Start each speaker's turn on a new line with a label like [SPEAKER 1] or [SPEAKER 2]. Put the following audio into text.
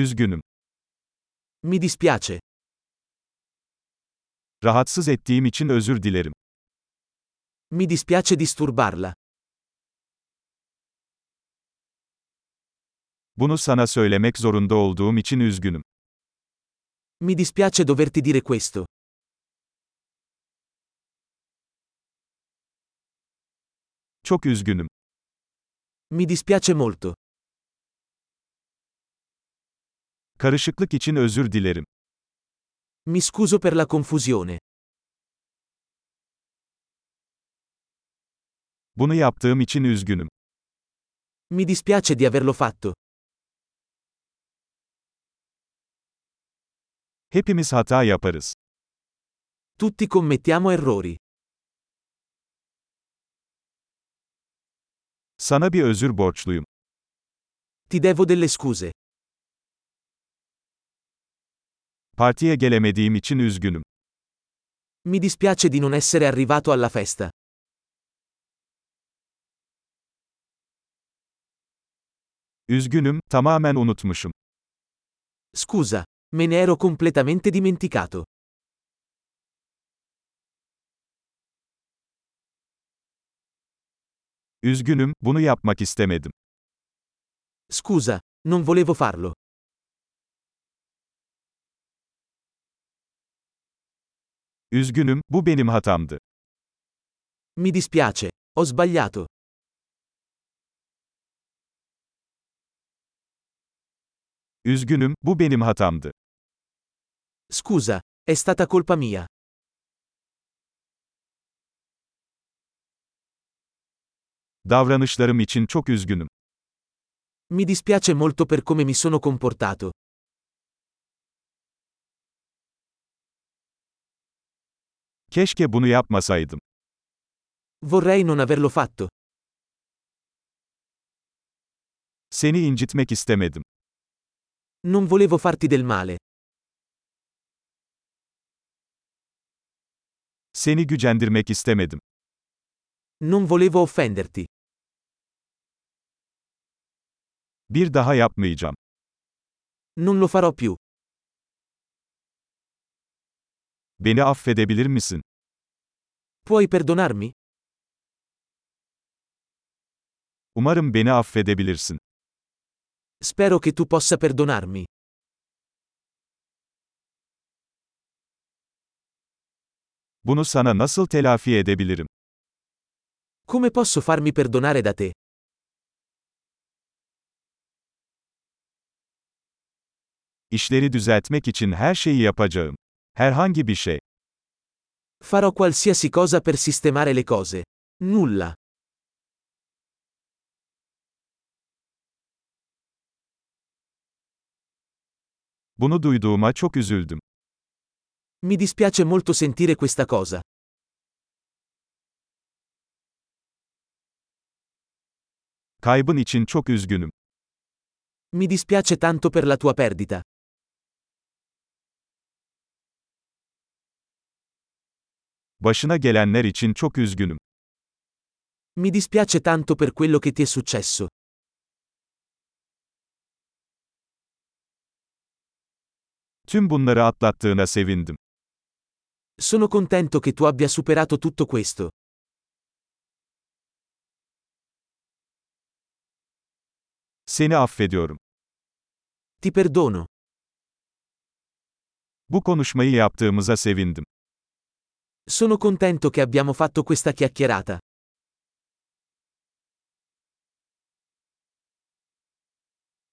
[SPEAKER 1] Üzgünüm.
[SPEAKER 2] Mi dispiace.
[SPEAKER 1] Rahatsız ettiğim için özür dilerim.
[SPEAKER 2] Mi dispiace disturbarla.
[SPEAKER 1] Bunu sana söylemek zorunda olduğum için üzgünüm.
[SPEAKER 2] Mi dispiace doverti dire questo.
[SPEAKER 1] Çok üzgünüm.
[SPEAKER 2] Mi dispiace molto.
[SPEAKER 1] Karışıklık için özür dilerim.
[SPEAKER 2] Mi scuso per la confusione.
[SPEAKER 1] Bunu yaptığım için üzgünüm.
[SPEAKER 2] Mi dispiace di averlo fatto.
[SPEAKER 1] Hepimiz hata yaparız.
[SPEAKER 2] Tutti commettiamo errori.
[SPEAKER 1] Sana bir özür borçluyum.
[SPEAKER 2] Ti devo delle scuse.
[SPEAKER 1] Partiye gelemediğim için üzgünüm.
[SPEAKER 2] Mi dispiace di non essere arrivato alla festa.
[SPEAKER 1] Üzgünüm, tamamen unutmuşum.
[SPEAKER 2] Scusa, me ne ero completamente dimenticato.
[SPEAKER 1] Üzgünüm, bunu yapmak istemedim.
[SPEAKER 2] Scusa, non volevo farlo.
[SPEAKER 1] Üzgünüm, bu benim hatamdı.
[SPEAKER 2] Mi dispiace, ho sbagliato.
[SPEAKER 1] Üzgünüm, bu benim hatamdı.
[SPEAKER 2] Scusa, è stata colpa mia.
[SPEAKER 1] Davranışlarım için çok üzgünüm.
[SPEAKER 2] Mi dispiace molto per come mi sono comportato.
[SPEAKER 1] Keşke bunu yapmasaydım.
[SPEAKER 2] Vorrei non averlo fatto.
[SPEAKER 1] Seni incitmek istemedim.
[SPEAKER 2] Non volevo farti del male.
[SPEAKER 1] Seni gücendirmek istemedim.
[SPEAKER 2] Non volevo offenderti.
[SPEAKER 1] Bir daha yapmayacağım.
[SPEAKER 2] Non lo farò più.
[SPEAKER 1] Beni affedebilir misin?
[SPEAKER 2] Puoi perdonarmi?
[SPEAKER 1] Umarım beni affedebilirsin.
[SPEAKER 2] Spero che tu possa perdonarmi.
[SPEAKER 1] Bunu sana nasıl telafi edebilirim?
[SPEAKER 2] Come posso farmi perdonare da te?
[SPEAKER 1] İşleri düzeltmek için her şeyi yapacağım. Herhangi bir şey.
[SPEAKER 2] Farò qualsiasi cosa per sistemare le cose. Nulla.
[SPEAKER 1] Bunu duyduğuma çok üzüldüm.
[SPEAKER 2] Mi dispiace molto sentire questa cosa.
[SPEAKER 1] Kaybın için çok üzgünüm.
[SPEAKER 2] Mi dispiace tanto per la tua perdita.
[SPEAKER 1] Başına gelenler için çok üzgünüm.
[SPEAKER 2] Mi dispiace tanto per quello che ti è successo.
[SPEAKER 1] Tüm bunları atlattığına sevindim.
[SPEAKER 2] Sono contento che tu abbia superato tutto questo.
[SPEAKER 1] Seni affediyorum.
[SPEAKER 2] Ti perdono.
[SPEAKER 1] Bu konuşmayı yaptığımıza sevindim.
[SPEAKER 2] Sono contento che abbiamo fatto questa chiacchierata.